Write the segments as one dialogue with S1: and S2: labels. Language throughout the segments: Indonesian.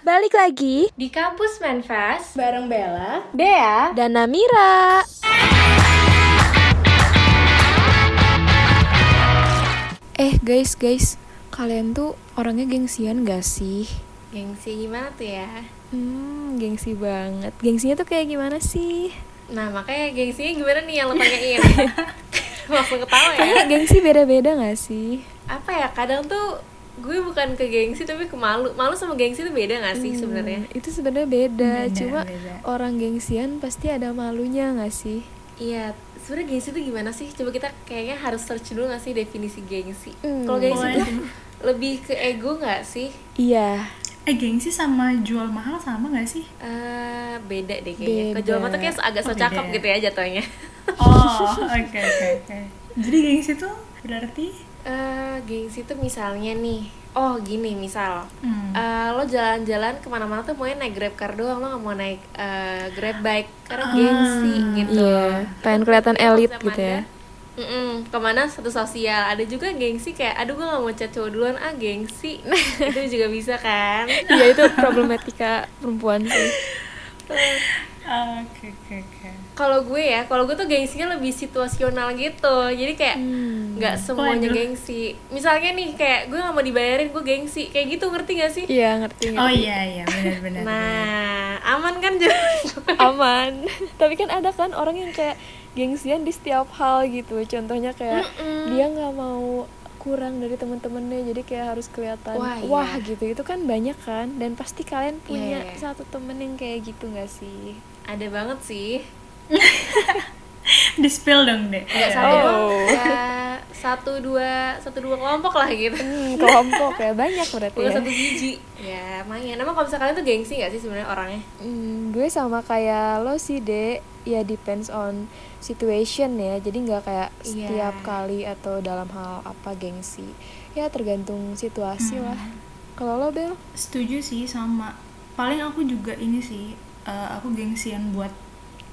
S1: balik lagi
S2: di kampus Menfest
S3: bareng Bella,
S2: Dea
S1: dan Namira.
S4: Eh guys guys, kalian tuh orangnya gengsian gak sih?
S2: Gengsi gimana tuh ya?
S4: Hmm, gengsi banget. Gengsinya tuh kayak gimana sih?
S2: Nah makanya gengsinya gimana nih yang lo tanyain? Langsung ketawa ya?
S4: Kayaknya gengsi beda-beda gak sih?
S2: Apa ya, kadang tuh gue bukan ke gengsi tapi ke malu Malu sama gengsi tuh beda gak sih sebenarnya?
S4: Hmm, Itu sebenarnya beda,
S3: Beda,
S4: cuma
S3: beda.
S4: orang gengsian pasti ada malunya gak sih?
S2: Iya, sebenarnya gengsi itu gimana sih? Coba kita kayaknya harus search dulu gak sih definisi gengsi?
S4: Hmm.
S2: Kalau gengsi
S3: Boleh.
S2: itu lebih ke ego gak sih?
S4: Iya,
S3: Eh gengsi sama jual mahal sama gak sih?
S2: Eh, beda deh kayaknya. Ke
S4: Beda.
S2: jual mata kayak agak so
S3: Oh,
S2: cakep
S3: beda.
S2: gitu ya jatuhnya.
S3: Oh, oke oke oke. Jadi gengsi tuh berarti
S2: Eh, gengsi tuh misalnya nih. Oh, gini misal.
S3: hmm.
S2: Eh, lo jalan-jalan kemana-mana tuh maunya naik grab car doang lo nggak mau naik eh, grab bike karena gengsi gitu
S4: Ah, iya. Pengen kelihatan elit
S2: Konsep
S4: gitu ya.
S2: Anda, Mm-mm, kemana satu sosial ada juga gengsi kayak aduh gue nggak mau chat cowok duluan ah gengsi itu juga bisa kan
S4: Iya itu problematika perempuan sih.
S3: Ah, oke oke oke.
S2: kalau gue ya kalau gue tuh gengsinya lebih situasional gitu jadi kayak
S4: Hmm.
S2: nggak semuanya
S3: Waduh.
S2: gengsi misalnya nih kayak gue nggak mau dibayarin gue gengsi kayak gitu ngerti gak sih
S4: Iya ngerti
S3: Oh
S4: ngerti.
S3: iya iya benar benar.
S2: nah aman kan jalan
S4: aman. Tapi kan ada kan orang yang kayak gengsian di setiap hal gitu. Contohnya kayak
S2: Mm.
S4: dia nggak mau kurang dari temen-temennya jadi kayak harus kelihatan
S2: Wah, iya.
S4: gitu itu kan banyak kan dan pasti kalian punya
S2: Iya, iya.
S4: satu temen yang kayak gitu nggak sih
S2: ada banget sih
S3: Di spill dong deh.
S2: nggak satu
S4: Oh.
S2: doang ya satu dua satu dua kelompok lah gitu
S4: Hmm, kelompok ya banyak berarti
S2: bukan
S4: ya
S2: satu biji ya main emang kalau misalnya kalian tuh gengsi gak sih sebenarnya orangnya
S4: Hmm, gue sama kayak lo sih dek ya depends on situation ya jadi nggak kayak
S2: Iya.
S4: setiap kali atau dalam hal apa gengsi ya tergantung situasi lah
S2: Hmm.
S4: kalau lo bel
S3: Setuju sih sama. Paling aku juga ini sih eh, aku gengsian buat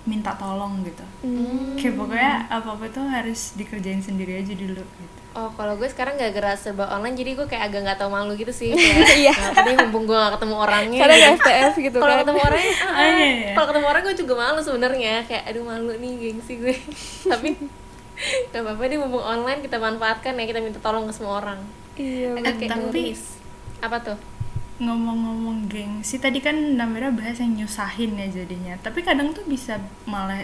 S3: minta tolong gitu.
S4: Hmm,
S3: Kayak pokoknya apa-apa tuh harus dikerjain sendiri aja dulu gitu.
S2: Oh, kalau gue sekarang gak gerak serba online, jadi gue kayak agak nggak tahu malu gitu sih. Iya. Tapi mumpung gue gak ketemu orangnya.
S4: karena
S2: gitu.
S4: ada FTF gitu
S2: kalau
S4: kan
S2: ketemu orangnya, ah,
S3: Ah, iya, iya.
S2: kalau ketemu orang gue juga malu sebenarnya. Kayak aduh malu nih gengsi gue. Tapi gak apa-apa deh mumpung online kita manfaatkan ya kita minta tolong ke semua orang.
S4: iya
S2: Oke.
S3: Eh, tapi
S2: Apa tuh?
S3: ngomong-ngomong gengsi tadi kan Namira bahas yang nyusahin ya jadinya tapi kadang tuh bisa malah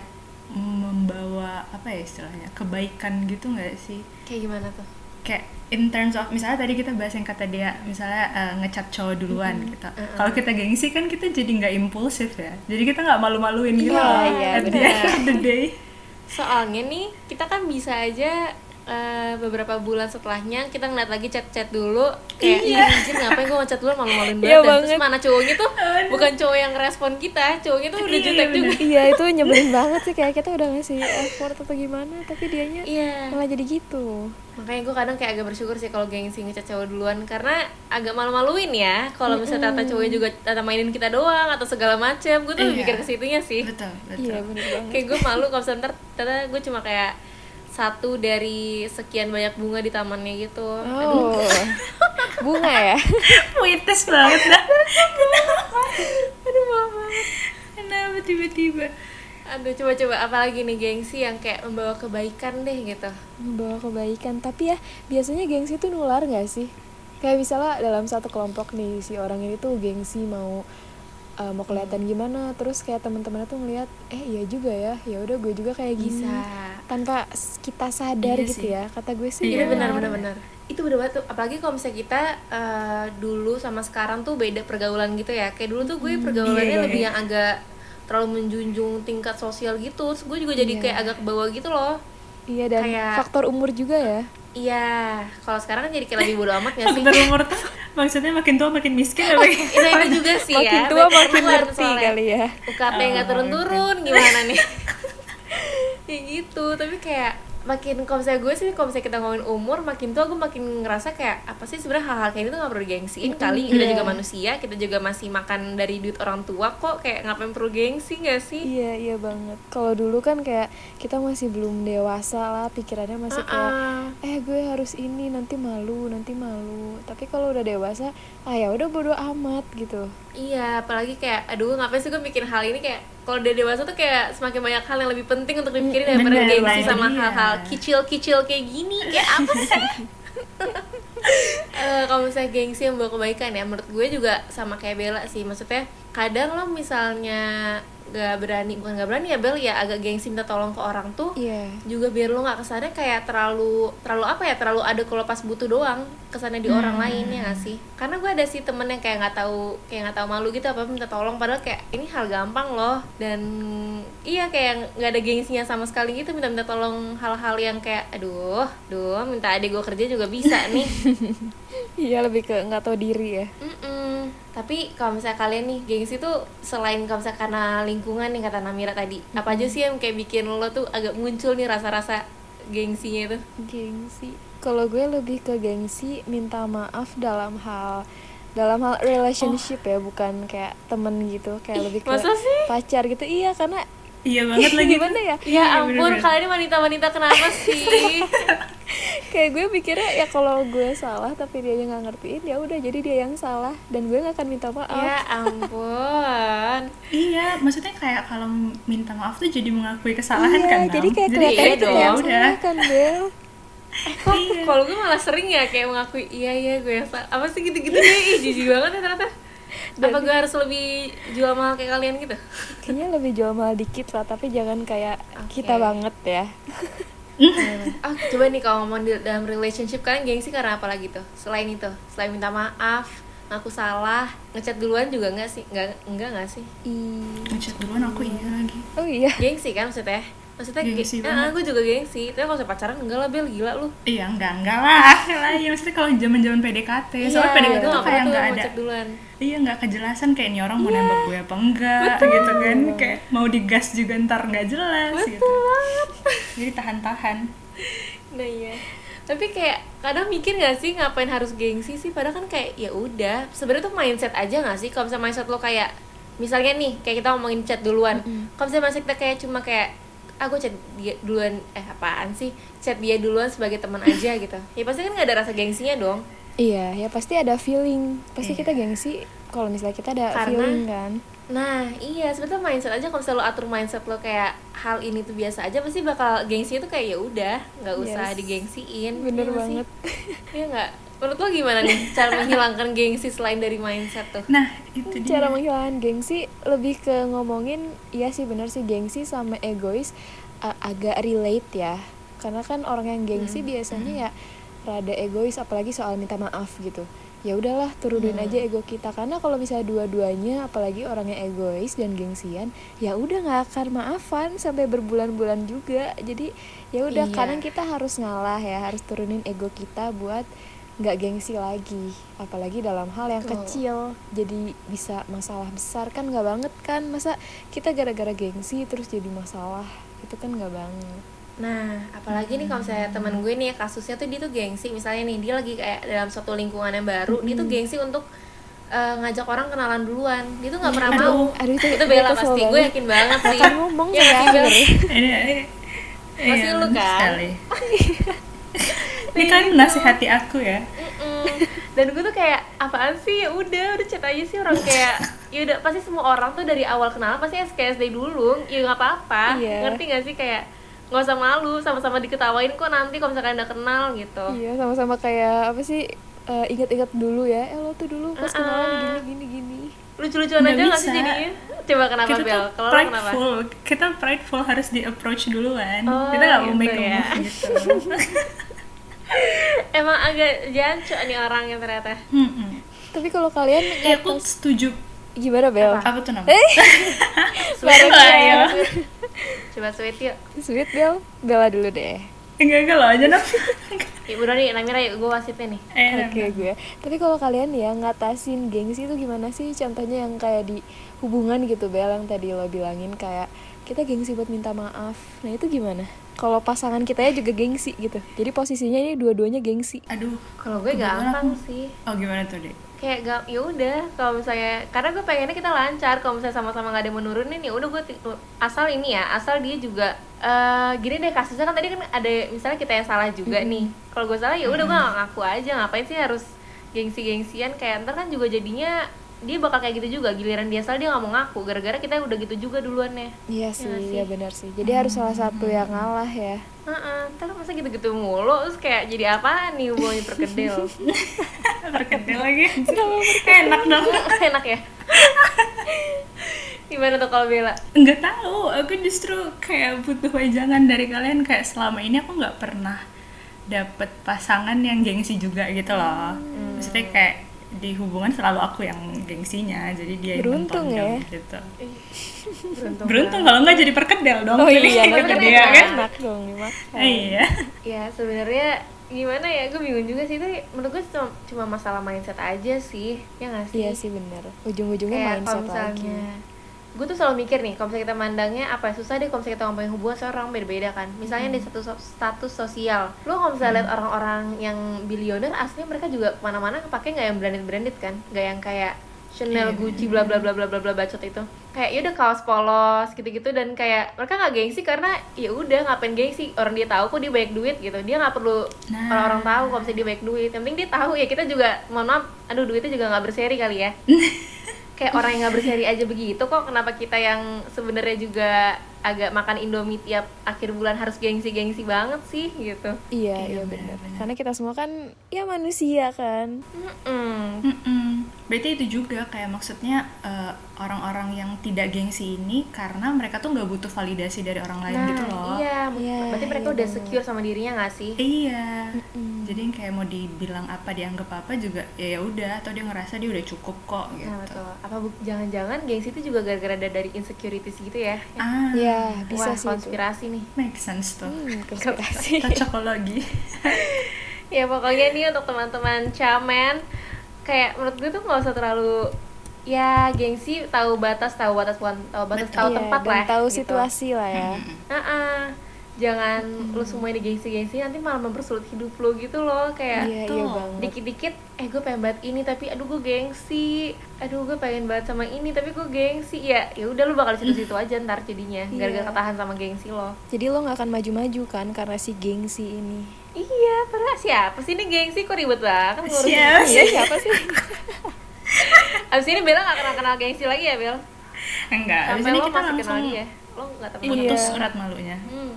S3: membawa apa ya istilahnya kebaikan gitu nggak sih
S2: Kayak gimana tuh?
S3: kayak in terms of misalnya tadi kita bahas yang kata dia misalnya eh, ngecat cowok duluan gitu kalau kita gengsi kan kita jadi nggak impulsif ya jadi kita nggak malu-maluin gitu
S2: Iya,
S3: loh
S2: iya,
S3: at the end of the day
S2: Soalnya nih kita kan bisa aja eh, beberapa bulan setelahnya kita ngeliat lagi chat-chat dulu kayak iya. anjir ngapain gue ngechat dulu malu-maluin banget,
S4: Iya
S2: Dan terus
S4: banget.
S2: mana cowoknya tuh bukan cowok yang respon kita cowoknya tuh udah
S3: Iya,
S2: jutek
S3: bener.
S2: juga
S4: iya itu nyebelin banget sih kayak kita udah ngasih effort atau gimana tapi dianya
S2: iya
S4: malah jadi gitu
S2: makanya gue kadang kayak agak bersyukur sih kalau gengsi ngechat cowok duluan karena agak malu-maluin ya kalau misalnya tata cowoknya juga tata mainin kita doang atau segala macem gue tuh
S3: Iya.
S2: mikir ke situnya sih
S3: betul
S4: iya
S3: betul
S4: bener banget
S2: kayak gue malu kalau misalnya ntar ternyata gue cuma kayak satu dari sekian banyak bunga di tamannya gitu Aduh,
S4: oh bunga ya
S3: puitis banget dah kenapa aduh mama kenapa tiba-tiba
S2: aduh coba-coba apalagi nih gengsi yang kayak membawa kebaikan deh gitu
S4: membawa kebaikan tapi ya biasanya gengsi itu nular nggak sih kayak misalnya dalam satu kelompok nih si orang ini tuh gengsi mau eh, mau kelihatan gimana terus kayak teman-temannya tuh ngelihat eh iya juga ya ya udah gue juga kayak gini
S2: bisa
S4: tanpa s- kita sadar
S3: Iya
S4: gitu
S3: sih.
S4: ya kata gue sih
S2: Iya
S3: Hmm. Iya,
S2: benar
S4: nular.
S2: benar benar. Itu benar banget tuh. Apalagi kalau misalnya kita eh, dulu sama sekarang tuh beda pergaulan gitu ya. Kayak dulu tuh gue pergaulannya
S3: iya, iya,
S2: lebih
S3: iya.
S2: yang agak terlalu menjunjung tingkat sosial gitu. Terus gue juga jadi
S3: Iya.
S2: kayak agak ke bawah gitu loh.
S4: iya dan
S2: Kayak-
S4: faktor umur juga ya
S2: Iya, kalau sekarang kan jadi kayak lebih bodo amat gak sih?
S3: Faktor umur tuh maksudnya makin tua makin miskin apa gimana?
S2: Itu itu juga sih
S4: makin
S2: ya.
S4: tua
S2: Tapi
S4: makin
S2: karena
S4: ngerti
S2: soalnya
S4: kali ya
S2: UKT nggak
S3: Oh,
S2: turun-turun gimana nih? ya gitu, tapi kayak makin kalau misalnya gue sih kalau misalnya kita ngomongin umur makin tua gue makin ngerasa kayak apa sih sebenarnya hal-hal kayak gitu nggak perlu gengsiin kali kita
S4: Iya.
S2: juga manusia kita juga masih makan dari duit orang tua kok kayak ngapain perlu gengsi nggak sih
S4: Iya iya banget. Kalau dulu kan kayak kita masih belum dewasa lah, pikirannya masih kayak
S2: Ah,
S4: eh gue harus ini nanti malu nanti malu. Tapi kalau udah dewasa, ah ya udah bodo amat gitu.
S2: iya apalagi kayak aduh ngapain sih gue mikirin hal ini kayak kalau udah dewasa tuh kayak semakin banyak hal yang lebih penting untuk dipikirin
S3: Mm,
S2: daripada
S3: bener,
S2: gengsi
S3: lain.
S2: sama
S3: Iya.
S2: hal-hal kicil-kicil kayak gini kayak apa sih Eh, kalau misalnya gengsi yang bawa kebaikan ya menurut gue juga sama kayak Bella sih maksudnya kadang lo misalnya gak berani bukan gak berani ya Bel ya agak gengsi minta tolong ke orang tuh
S4: Iya.
S2: juga biar lo nggak kesannya kayak terlalu terlalu apa ya terlalu ada kalau pas butuh doang kesannya di orang lain ya gak sih karena gue ada sih temen yang kayak nggak tahu kayak nggak tahu malu gitu apa minta tolong padahal kayak ini hal gampang loh dan iya kayak nggak ada gengsinya sama sekali gitu minta minta tolong hal-hal yang kayak aduh duh minta adik gue kerja juga bisa nih
S4: Iya lebih ke nggak tahu diri ya.
S2: Mm-mm. Tapi kalau misalnya kalian nih gengsi tuh selain kalau misalnya karena lingkungan yang kata Namira tadi, apa aja sih yang kayak bikin lo tuh agak muncul nih rasa-rasa gengsinya itu?
S4: Gengsi. Kalau gue lebih ke gengsi minta maaf dalam hal dalam hal relationship ya, bukan kayak temen gitu, kayak lebih ke
S2: masa sih?
S4: pacar gitu. Iya karena
S3: Iya banget lagi.
S4: gimana ya?
S2: Ya ampun,
S3: Iya, bener-bener.
S2: kalian ini wanita-wanita kenapa sih?
S4: kayak gue pikirnya ya kalau gue salah tapi dia yang nggak ngertiin ya udah jadi dia yang salah dan gue nggak akan minta maaf
S2: ya ampun.
S3: Iya, maksudnya kayak kalau minta maaf tuh jadi mengakui kesalahan
S4: Iya,
S3: kan.
S4: jadi
S3: Nam?
S4: kayak
S2: iya
S4: kelihatannya kita yang
S2: dong.
S3: Ya udah.
S4: salah kan Bel
S2: Eh, kok kalau gue malah sering ya kayak mengakui iya iya gue yang salah. Apa sih gitu-gitu deh, ih jijik banget ya ternyata. Apa gue harus lebih jual mahal kayak kalian gitu?
S4: kayaknya lebih jual mahal dikit lah tapi jangan kayak kita
S2: Oke.
S4: banget ya
S2: Ah, coba nih kalau ngomong di- dalam relationship kalian gengsi karena apa lagi tuh? Selain itu, selain minta maaf, ngaku salah, ngechat duluan juga nggak sih? Nggak enggak nggak sih?
S4: Ih.
S3: Ngechat duluan aku iya lagi.
S4: oh iya
S2: Gengsi kan maksudnya? Maksudnya ge-
S3: Gengsi
S2: eh,
S3: banget.
S2: aku juga gengsi. Tapi kalau saya pacaran enggak lah, Bel, gila lu.
S3: Iya, enggak enggak lah. Lah, ya maksudnya kalau zaman-zaman PDKT, Iya, soalnya PDKT
S2: gua Iya,
S3: tuh
S2: nggak
S3: kayak
S2: pernah
S3: enggak
S2: tuh
S3: ada
S2: ngechat duluan.
S3: Iya nggak kejelasan kayak ini orang mau nembak gue apa enggak gitu kan kayak mau digas juga ntar nggak jelas gitu jadi tahan-tahan
S2: Nah iya. Tapi kayak kadang mikir nggak sih ngapain harus gengsi sih? Padahal kan kayak ya udah. Sebenarnya tuh mindset aja nggak sih? Kalau misalnya mindset lo kayak misalnya nih kayak kita ngomongin chat duluan. Kalau misalnya mindset kita kayak cuma kayak aku chat dia duluan eh apaan sih? Chat dia duluan sebagai teman aja gitu. Ya pasti kan nggak ada rasa gengsinya dong.
S4: iya ya pasti ada feeling pasti kita gengsi kalau misalnya kita ada
S2: Iya. Karena-
S4: feeling kan
S2: Nah, iya sebetulnya mindset aja kalau misalnya lo atur mindset lo kayak hal ini tuh biasa aja pasti bakal gengsinya tuh kayak ya udah, nggak usah
S4: Yes.
S2: digengsiin.
S4: bener
S2: Iya nggak sih?
S4: banget
S2: Iya nggak? Menurut lo gimana nih cara menghilangkan gengsi selain dari mindset tuh?
S3: nah itu dia
S4: cara menghilangkan gengsi lebih ke ngomongin iya sih bener sih gengsi sama egois a- agak relate ya karena kan orang yang gengsi
S3: Hmm,
S4: biasanya ya rada egois apalagi soal minta maaf gitu ya udahlah turunin
S3: Hmm.
S4: aja ego kita karena kalau misalnya dua-duanya apalagi orangnya egois dan gengsian ya udah nggak akan maafan sampai berbulan-bulan juga jadi ya udah
S2: Iya.
S4: kadang kita harus ngalah ya harus turunin ego kita buat nggak gengsi lagi apalagi dalam hal yang
S2: Betul.
S4: kecil jadi bisa masalah besar kan nggak banget kan masa kita gara-gara gengsi terus jadi masalah itu kan nggak banget
S2: Nah, apalagi nih kalau misalnya teman gue nih ya, kasusnya tuh dia tuh gengsi misalnya nih dia lagi kayak dalam suatu lingkungan yang baru, dia tuh gengsi untuk eh, ngajak orang kenalan duluan. Dia tuh nggak pernah mau.
S3: Aduh.
S4: aduh itu
S2: Itu Bella
S4: kesel
S2: pasti gue
S4: banget.
S2: yakin banget sih.
S4: Akan ngomong
S2: Ya,
S4: ya,
S2: Bel.
S4: Bel.
S3: ini ini
S2: Masih
S3: iya,
S2: lu
S3: bener
S2: kan?
S3: sekali. ini kan nasihati aku ya
S2: Mm-mm. Dan gue tuh kayak apaan sih? Ya udah, udah chat aja sih orang kayak ya udah pasti semua orang tuh dari awal kenalan pasti SKSD dulu. Ya nggak apa-apa.
S4: Iya.
S2: Ngerti gak sih kayak nggak usah malu, sama-sama diketawain kok nanti kalau misalkan udah kenal gitu.
S4: iya sama-sama kayak apa sih eh, ingat-ingat dulu ya eh lo tuh dulu pas
S2: Ah, ah.
S4: kenalan gini gini gini
S2: lucu-lucuan
S3: Nggak
S2: aja nggak sih
S3: bisa.
S2: jadinya? Coba kenapa
S3: kita
S2: Bel?
S3: tuh
S2: Kalau lo kenapa?
S3: prideful kita prideful harus di approach duluan
S2: Oh,
S3: kita nggak mau
S2: gitu
S3: make a
S2: ya.
S3: move gitu
S2: Emang agak jancok nih orangnya ternyata.
S3: Mm-mm.
S4: tapi kalau kalian
S3: eh aku setuju
S4: gimana Bel
S3: apa tuh iya. namanya
S4: eh
S2: Sweet,
S3: Ayo.
S2: Coba sweet yuk.
S4: sweet Bel Bella dulu deh
S3: enggak enggak lo aja nap
S2: Ya udah nih, Namira yuk gue wasitnya nih.
S3: eh
S4: Oke
S3: Nap.
S4: gue. Tapi kalau kalian ya ngatasin gengsi itu gimana sih? Contohnya yang kayak di hubungan gitu Bel yang tadi lo bilangin kayak kita gengsi buat minta maaf. Nah itu gimana? Kalau pasangan kita ya juga gengsi gitu. Jadi posisinya ini dua-duanya gengsi.
S3: aduh
S2: Kalau gue
S3: Kebetulan
S2: gampang
S3: aku-
S2: sih.
S3: oh gimana tuh deh
S2: kayak gak ya udah kalau misalnya karena gue pengennya kita lancar kalau misalnya sama-sama nggak ada yang menurunin ya udah gue ti- asal ini ya asal dia juga eh gini deh kasusnya kan tadi kan ada misalnya kita yang salah juga nih kalau gue salah ya udah gue ngaku aja ngapain sih harus gengsi-gengsian kayak ntar kan juga jadinya dia bakal kayak gitu juga giliran dia salah dia nggak mau ngaku gara-gara kita udah gitu juga duluannya
S4: Iya sih,
S2: nggak sih?
S4: iya benar sih. Jadi harus salah satu yang ngalah ya.
S2: Heeh, ntar masa gitu-gitu mulu terus kayak jadi apaan nih hubungannya perkedel
S3: terkenal lagi enak dong
S2: enak ya gimana tuh kalau Bella
S3: nggak tahu aku justru kayak butuh wejangan dari kalian kayak selama ini aku nggak pernah dapet pasangan yang gengsi juga gitu loh
S4: Hmm.
S3: maksudnya kayak di hubungan selalu aku yang gengsinya jadi dia yang
S4: Beruntung
S3: mentondong
S4: ya.
S3: gitu
S2: beruntung
S3: beruntung kan? kalau nggak jadi perkedel dong
S4: Oh
S3: Jadi
S4: iya,
S2: tapi
S4: nanti
S2: kan
S4: dia
S3: dia kan
S4: enak dong dimakan.
S3: Eh, iya
S2: ya sebenarnya gimana ya gue bingung juga sih itu menurut gue cuma, cuma masalah mindset aja sih ya nggak sih
S4: Iya sih benar. Ujung-ujungnya
S2: kayak kalau
S4: mindset lagi. Iya,
S2: misalnya gue tuh selalu mikir nih kalau misalnya kita mandangnya apa ya, susah deh kalau misalnya kita ngomongin hubungan soalnya orang beda-beda kan misalnya di satu so- status sosial lo kalau misalnya lihat orang-orang yang bilioner aslinya mereka juga kemana-mana pakai nggak yang branded-branded kan nggak yang kayak Chanel, Gucci, bla bla bla bla bla bla bacot itu kayak ya udah kaos polos gitu-gitu dan kayak mereka nggak gengsi karena ya udah ngapain gengsi orang dia tahu kok dia banyak duit gitu dia nggak perlu
S3: Nah.
S2: orang-orang tahu kalau misalnya dia banyak duit yang penting dia tahu ya kita juga mohon maaf aduh duitnya juga nggak berseri kali ya kayak orang yang nggak berseri aja begitu kok kenapa kita yang sebenarnya juga agak makan Indomie tiap akhir bulan harus gengsi-gengsi banget sih gitu.
S4: Iya,
S3: Iya,
S4: iya benar.
S3: benar, benar.
S4: Karena kita semua kan ya manusia kan.
S2: Mm-mm.
S3: Mm-mm. Berarti itu juga kayak maksudnya eh, orang-orang yang tidak gengsi ini karena mereka tuh nggak butuh validasi dari orang lain
S2: Nah,
S3: gitu loh.
S2: iya,
S4: Iya,
S2: berarti mereka
S4: iya
S2: udah
S4: banget.
S2: secure sama dirinya nggak sih?
S3: Iya.
S4: Mm.
S3: Jadi yang kayak mau dibilang apa dianggap apa juga ya ya udah atau dia ngerasa dia udah cukup kok
S4: Ya,
S3: gitu.
S2: Nah, betul. Apa bu- jangan-jangan gengsi itu juga gara-gara ada dari insecurities gitu ya?
S3: Ah,
S4: Ya, bisa
S2: Wah,
S4: sih itu.
S2: konspirasi nih.
S3: make sense tuh.
S4: Hmm, konspirasi.
S3: Toxicology.
S2: ya pokoknya nih untuk teman-teman camen kayak menurut gue tuh nggak usah terlalu ya gengsi tahu batas tahu batas bukan tahu batas
S3: Betul.
S2: tahu
S4: Iya,
S2: tempat
S4: dan
S2: lah
S4: tahu
S2: gitu. hmm.
S4: situasi lah ya.
S2: Ah-ah. jangan
S3: Hmm.
S2: lu semua ini gengsi-gengsi nanti malah mempersulit hidup lu gitu loh kayak
S4: Iya,
S3: betul.
S4: iya banget.
S2: dikit-dikit eh gue pengen banget ini tapi aduh gue gengsi aduh gue pengen banget sama ini tapi gue gengsi ya ya udah lu bakal situ situ aja ntar jadinya
S4: Iya.
S2: gara-gara ketahan sama gengsi lo
S4: Jadi lo nggak akan maju-maju kan karena si gengsi ini.
S2: iya padahal siapa sih ini gengsi kok ribet banget ngurusin
S3: Siapa
S4: Iya,
S3: sih?
S4: siapa sih?
S2: Abis ini Bella gak kenal kenal gengsi lagi ya Bel?
S3: Enggak, abis
S2: Sampai
S3: ini
S2: lo
S3: kita
S2: masih kenal
S3: langsung
S2: dia. Lo gak temen.
S4: ya. Iya.
S3: putus surat malunya.
S2: Hmm.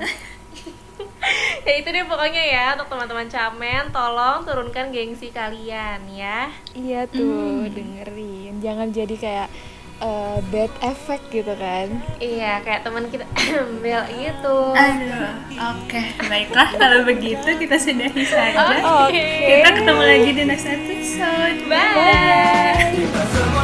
S2: ya itu deh pokoknya ya untuk teman-teman camen tolong turunkan gengsi kalian ya
S4: iya
S2: Hmm.
S4: tuh, dengerin. Jangan jadi kayak eh, bad effect gitu kan.
S2: iya kayak teman kita Bel gitu
S3: Aduh, oke, baiklah kalau begitu kita sudahi saja.
S2: oke
S3: Kita ketemu lagi di next episode.
S2: bye.
S1: Keep us alive.